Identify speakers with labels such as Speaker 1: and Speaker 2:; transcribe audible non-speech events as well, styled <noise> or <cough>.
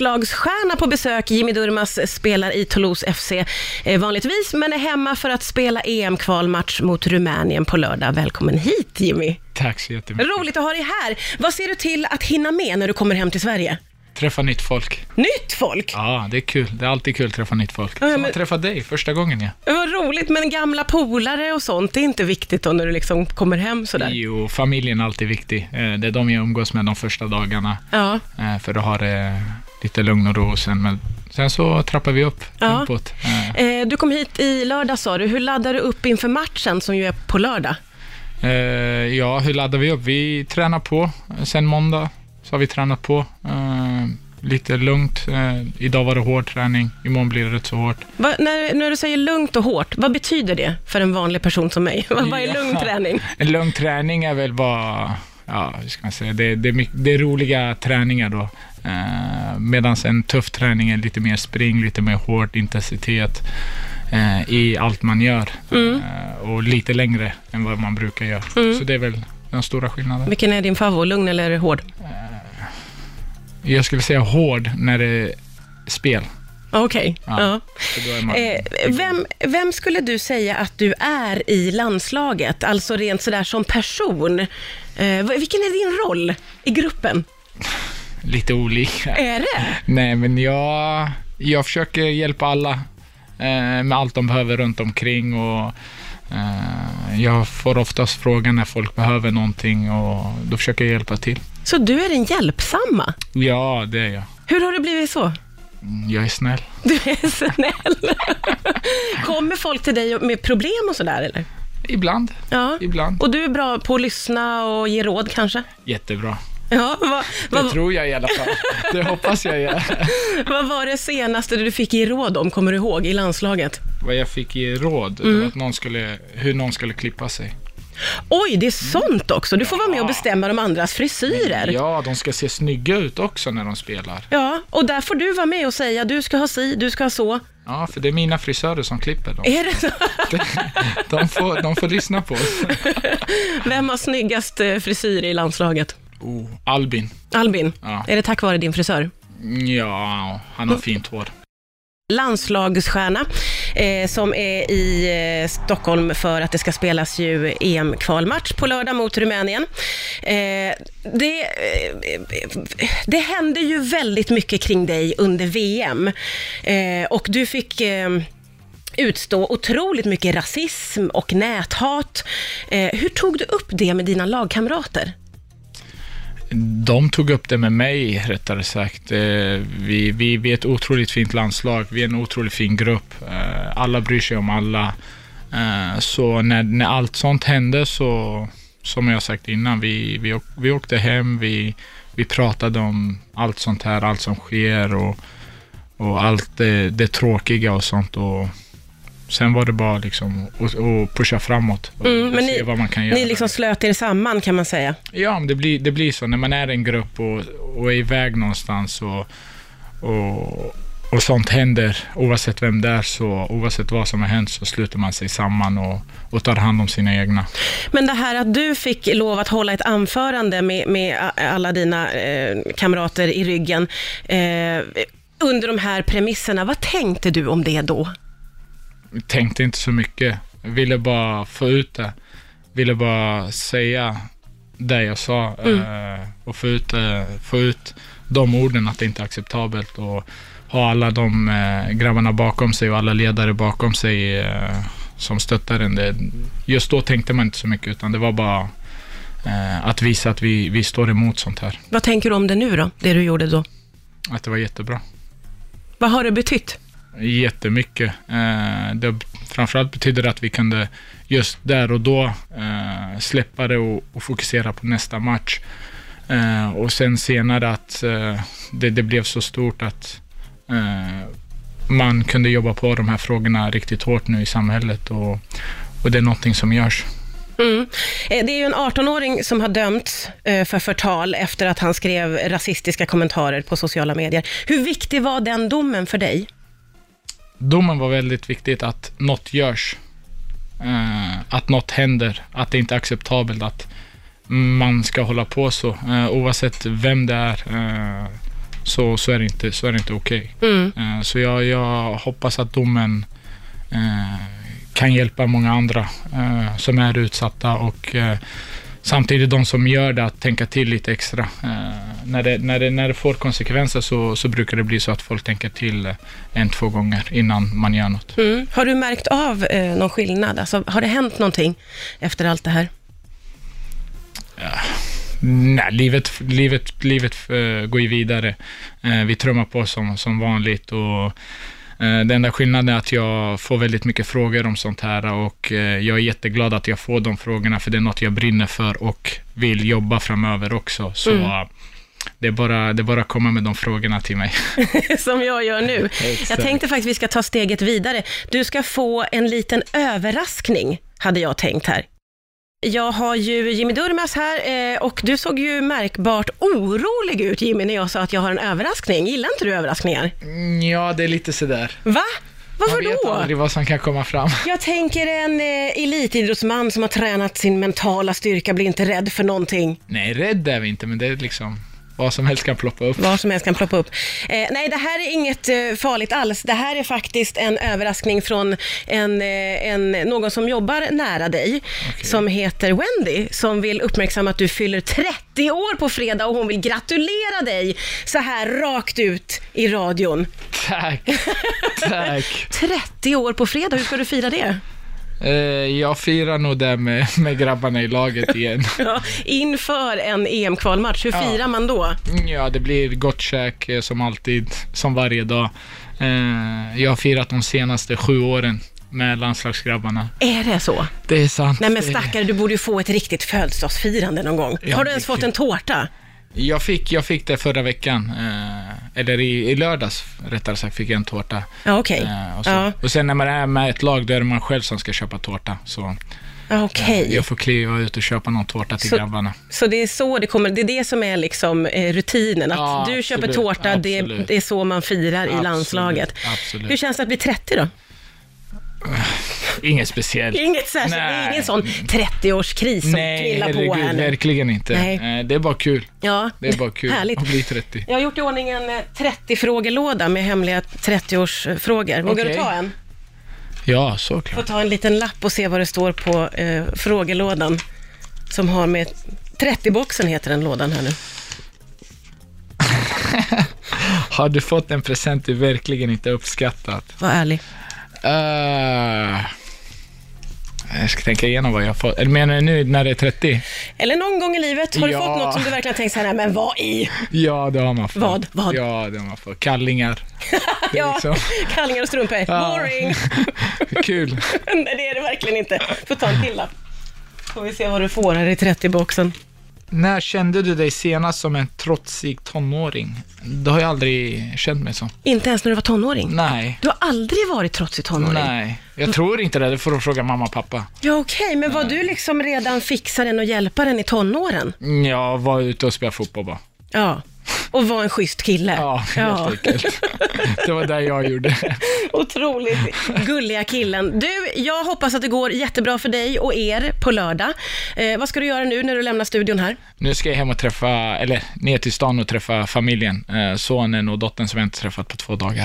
Speaker 1: Landslagsstjärna på besök, Jimmy Durmaz spelar i Toulouse FC eh, vanligtvis, men är hemma för att spela EM-kvalmatch mot Rumänien på lördag. Välkommen hit Jimmy!
Speaker 2: Tack så jättemycket.
Speaker 1: Roligt att ha dig här! Vad ser du till att hinna med när du kommer hem till Sverige?
Speaker 2: Träffa nytt folk.
Speaker 1: Nytt folk!
Speaker 2: Ja, det är kul. Det är alltid kul att träffa nytt folk.
Speaker 1: Ja, ja,
Speaker 2: Som
Speaker 1: men-
Speaker 2: att träffa dig första gången, ja.
Speaker 1: Vad roligt, men gamla polare och sånt, det är inte viktigt då när du liksom kommer hem sådär?
Speaker 2: Jo, familjen är alltid viktig. Eh, Det är de jag umgås med de första dagarna.
Speaker 1: Ja.
Speaker 2: eh, För att ha det lite lugn och ro. och Sen, men sen så trappar vi upp
Speaker 1: Ja.
Speaker 2: tempot. Eh,
Speaker 1: Eh, Du kom hit i lördag sa du, hur laddar du upp inför matchen som ju är på lördag?
Speaker 2: eh, Ja, hur laddar vi upp? Vi tränar på. Sen måndag så har vi tränat på. eh, Lite lugnt. Eh, Idag var det hård träning. Imorgon blir det rätt så hårt.
Speaker 1: Vad- när, när du säger lugnt och hårt, vad betyder det för en vanlig person som mig? <laughs> Vad vad är
Speaker 2: Ja.
Speaker 1: lugn träning?
Speaker 2: En lugn träning är väl bara, ja hur ska man säga, det, det, är mycket, det är roliga träningar då. Eh, Medan en tuff träning är lite mer spring, lite mer hård intensitet eh, i allt man gör.
Speaker 1: Mm.
Speaker 2: Eh, och lite längre än vad man brukar göra. Så det är väl den stora skillnaden.
Speaker 1: Vilken är din favorit, lugn eller hård?
Speaker 2: Jag skulle säga hård när det är spel.
Speaker 1: Okej.
Speaker 2: Ja.
Speaker 1: Ja.
Speaker 2: För då är man
Speaker 1: Eh, vem, vem skulle du säga att du är i landslaget? Alltså rent sådär som person. Eh, vad- vilken är din roll i gruppen?
Speaker 2: lite olika.
Speaker 1: Är det?
Speaker 2: Nej, men jag, jag försöker hjälpa alla eh, med allt de behöver runt omkring och eh, jag får oftast frågan när folk behöver någonting och då försöker jag hjälpa till.
Speaker 1: Så du är den hjälpsamma?
Speaker 2: Ja, det är jag.
Speaker 1: Hur har du blivit så?
Speaker 2: Mm, Jag är snäll.
Speaker 1: Du är snäll. <laughs> Kommer folk till dig med problem och sådär eller?
Speaker 2: Ibland.
Speaker 1: Ja.
Speaker 2: Ibland.
Speaker 1: Och du är bra på att lyssna och ge råd kanske?
Speaker 2: Jättebra.
Speaker 1: Ja, vad,
Speaker 2: Det
Speaker 1: vad,
Speaker 2: tror jag i alla fall. <laughs> Det hoppas jag gör.
Speaker 1: vad var det senaste du fick ge råd om, kommer du ihåg, i landslaget?
Speaker 2: Vad jag fick i råd, det var att någon skulle, hur någon skulle klippa sig.
Speaker 1: Oj, det är sånt också. Du får vara med och
Speaker 2: Ja.
Speaker 1: bestämma de andras frisyrer. Ja.
Speaker 2: Ja, de ska se snygga ut också när de spelar.
Speaker 1: och där får du vara med och säga du ska ha si, du ska ha så.
Speaker 2: Ja, för det är mina frisörer som klipper dem.
Speaker 1: Är det
Speaker 2: <laughs>
Speaker 1: så?
Speaker 2: De får, de får lyssna på oss.
Speaker 1: Vem har snyggast eh, frisyr i landslaget?
Speaker 2: Oh, Albin.
Speaker 1: Albin,
Speaker 2: Ja.
Speaker 1: är det tack vare din frisör?
Speaker 2: ja, han har fint hår.
Speaker 1: landslagsstjärna eh, som är i eh, Stockholm för att det ska spelas ju EM-kvalmatch på lördag mot Rumänien. Eh, det, eh, det hände ju väldigt mycket kring dig under VM eh, och du fick eh, utstå otroligt mycket rasism och näthat. Eh, hur tog du upp det med dina lagkamrater?
Speaker 2: De tog upp det med mig, rättare sagt. Eh, Vi, vi, vi är ett otroligt fint landslag. Vi är en otroligt fin grupp. Eh, Alla bryr sig om alla. Eh, Så när, när allt sånt hände så, som jag sagt innan, vi, vi, åk- vi åkte hem, vi, vi pratade om allt sånt här, allt som sker och, och allt det, det tråkiga och sånt. Och sen var det bara liksom att- att pusha framåt och
Speaker 1: Mm, men
Speaker 2: se
Speaker 1: ni-
Speaker 2: vad man kan göra.
Speaker 1: Ni liksom slöt er samman kan man säga.
Speaker 2: Ja, men det blir, det blir så. När man är en grupp och, och är iväg någonstans och, och, och sånt händer, oavsett vem det är, så oavsett vad som har hänt så sluter man sig samman och, och tar hand om sina egna.
Speaker 1: Men det här att du fick lov att hålla ett anförande med, med a- alla dina eh, kamrater i ryggen eh, under de här premisserna, vad tänkte du om det då?
Speaker 2: Tänkte inte så mycket. Ville bara få ut det. Ville bara säga det jag sa eh, och få ut, eh, få ut de orden att det inte är acceptabelt och ha alla de eh, grabbarna bakom sig och alla ledare bakom sig eh, som stöttar en. Det, just då tänkte man inte så mycket utan det var bara eh, att visa att vi, vi står emot sånt här.
Speaker 1: Vad tänker du om det nu då, det du gjorde då?
Speaker 2: Att det var jättebra.
Speaker 1: Vad har det betytt?
Speaker 2: Jättemycket. Eh, det, framförallt betyder det att vi kunde just där och då eh, släppa det och, och fokusera på nästa match. Eh, och sen senare att eh, det, det blev så stort att eh, man kunde jobba på de här frågorna riktigt hårt nu i samhället och, och det är någonting som görs.
Speaker 1: Mm. Eh, Det är ju en 18-åring som har dömts eh, för förtal efter att han skrev rasistiska kommentarer på sociala medier. Hur viktig var den domen för dig?
Speaker 2: domen var väldigt viktigt att något görs. Eh, att något händer. Att det inte är acceptabelt att man ska hålla på så. Eh, oavsett vem det är. Eh, så, så är det inte, så är det inte okej.
Speaker 1: Mm.
Speaker 2: Eh, Så jag, jag hoppas att domen eh, kan hjälpa många andra eh, som är utsatta och eh, samtidigt de som gör det att tänka till lite extra. Eh, när, det, när, det, när det får konsekvenser så, så brukar det bli så att folk tänker till eh, en, två gånger innan man gör något.
Speaker 1: Mm. Har du märkt av eh, någon skillnad? Alltså, har det hänt någonting efter allt det här? <laughs>
Speaker 2: Nej, livet, livet, livet eh, går ju vidare. Eh, vi trummar på som, som vanligt och eh, den enda skillnaden är att jag får väldigt mycket frågor om sånt här och eh, jag är jätteglad att jag får de frågorna för det är något jag brinner för och vill jobba framöver också. Så
Speaker 1: Mm.
Speaker 2: eh, det, är bara, det är bara att komma med de frågorna till mig.
Speaker 1: Som jag gör nu.
Speaker 2: Exakt.
Speaker 1: Jag tänkte faktiskt vi ska ta steget vidare. Du ska få en liten överraskning, hade jag tänkt här. Jag har ju Jimmy Durmaz här eh, och du såg ju märkbart orolig ut Jimmy när jag sa att jag har en överraskning. Gillar inte du överraskningar?
Speaker 2: Mm, Ja, det är lite sådär.
Speaker 1: Va? Varför
Speaker 2: Man vet
Speaker 1: då?
Speaker 2: aldrig vad som kan komma fram.
Speaker 1: Jag tänker en eh, elitidrottsman som har tränat sin mentala styrka blir inte rädd för någonting.
Speaker 2: Nej, rädd är vi inte, men det är liksom vad som helst kan ploppa upp.
Speaker 1: Vad som helst kan ploppa upp. Eh, nej, det här är inget eh, farligt alls. Det här är faktiskt en överraskning från en, eh, en, någon som jobbar nära dig,
Speaker 2: Okej.
Speaker 1: som heter Wendy, som vill uppmärksamma att du fyller 30 år på fredag och hon vill gratulera dig så här rakt ut i radion.
Speaker 2: Tack, tack.
Speaker 1: 30 år på fredag, hur ska du fira det?
Speaker 2: Eh, jag firar nog det med, med grabbarna i laget igen.
Speaker 1: Ja, <laughs> inför en EM-kvalmatch, hur
Speaker 2: Ja.
Speaker 1: firar man då?
Speaker 2: Mm, Ja, det blir gott käk eh, som alltid, som varje dag. Eh, jag har firat de senaste sju åren med landslagsgrabbarna.
Speaker 1: Är det så?
Speaker 2: Det är sant.
Speaker 1: Nej men
Speaker 2: Det-
Speaker 1: stackare, du borde ju få ett riktigt födelsedagsfirande någon gång.
Speaker 2: Ja,
Speaker 1: Har du ens fått en
Speaker 2: riktigt.
Speaker 1: tårta?
Speaker 2: Jag fick, jag fick det förra veckan, eh, eller i, i lördags rättare sagt, fick jag en tårta.
Speaker 1: Ja, okej.
Speaker 2: Eh, och, så.
Speaker 1: Ja,
Speaker 2: och sen när man är med ett lag, då är det man själv som ska köpa tårta. Så
Speaker 1: ja, Ah, okej.
Speaker 2: jag får kliva ut och köpa någon tårta till
Speaker 1: Så-
Speaker 2: grabbarna.
Speaker 1: Så det är så det kommer, det är det som är liksom eh, rutinen, att
Speaker 2: Ja,
Speaker 1: du köper
Speaker 2: absolut,
Speaker 1: tårta, det,
Speaker 2: absolut.
Speaker 1: det är så man firar i
Speaker 2: Absolut,
Speaker 1: landslaget.
Speaker 2: absolut.
Speaker 1: Hur känns det att bli 30 då?
Speaker 2: Inget speciellt.
Speaker 1: Inget särskilt, det är
Speaker 2: Nej.
Speaker 1: ingen sån 30-årskris som
Speaker 2: Nej,
Speaker 1: knillar på här nu.
Speaker 2: verkligen inte.
Speaker 1: Nej.
Speaker 2: Eh, Det är bara kul.
Speaker 1: Ja,
Speaker 2: Det är bara kul
Speaker 1: Härligt.
Speaker 2: att bli 30.
Speaker 1: Jag har gjort i ordning en eh, 30-frågelåda med hemliga 30-årsfrågor. Vågar
Speaker 2: Okej.
Speaker 1: du ta en?
Speaker 2: Ja,
Speaker 1: Får
Speaker 2: såklart.
Speaker 1: ta en liten lapp och se vad det står på eh, frågelådan som har med 30-boxen heter den lådan här nu.
Speaker 2: Har du fått en present du verkligen inte uppskattat?
Speaker 1: Var ärlig.
Speaker 2: Eh, jag ska tänka igenom vad jag har fått. Eller menar du nu när det är 30?
Speaker 1: Eller någon gång i livet, har du
Speaker 2: Ja.
Speaker 1: fått något som du verkligen tänkt så här, "Nej, men vad i? <laughs>
Speaker 2: Ja, det har man fått.
Speaker 1: Vad? Vad?
Speaker 2: Ja, det har man fått. Kallingar. Det är
Speaker 1: <laughs> Ja,
Speaker 2: liksom-
Speaker 1: kallingar och strumpor.
Speaker 2: Ja.
Speaker 1: Boring!
Speaker 2: <laughs>
Speaker 1: <laughs>
Speaker 2: Kul.
Speaker 1: Nej, det är det verkligen inte. Får ta en till då. Får vi se vad du får här i 30-boxen.
Speaker 2: När kände du dig senast som en trotsig tonåring? Det har jag aldrig känt mig som.
Speaker 1: Inte ens när du var tonåring.
Speaker 2: Nej.
Speaker 1: Du har aldrig varit trotsig tonåring.
Speaker 2: Nej, jag tror inte det. Det får du fråga mamma och pappa.
Speaker 1: Ja, okej, men var du liksom redan fixaren och hjälparen i tonåren?
Speaker 2: Jag var ute och spelade fotboll bara.
Speaker 1: Ja. Och var en schysst kille.
Speaker 2: Ja, helt enkelt. <laughs> Det var det jag gjorde.
Speaker 1: <laughs> Otroligt gulliga killen. Du, jag hoppas att det går jättebra för dig och er på lördag. Eh, vad ska du göra nu när du lämnar studion här?
Speaker 2: Nu ska jag hem och träffa, eller ner till stan och träffa familjen. Eh, Sonen och dottern som jag inte träffat på två dagar.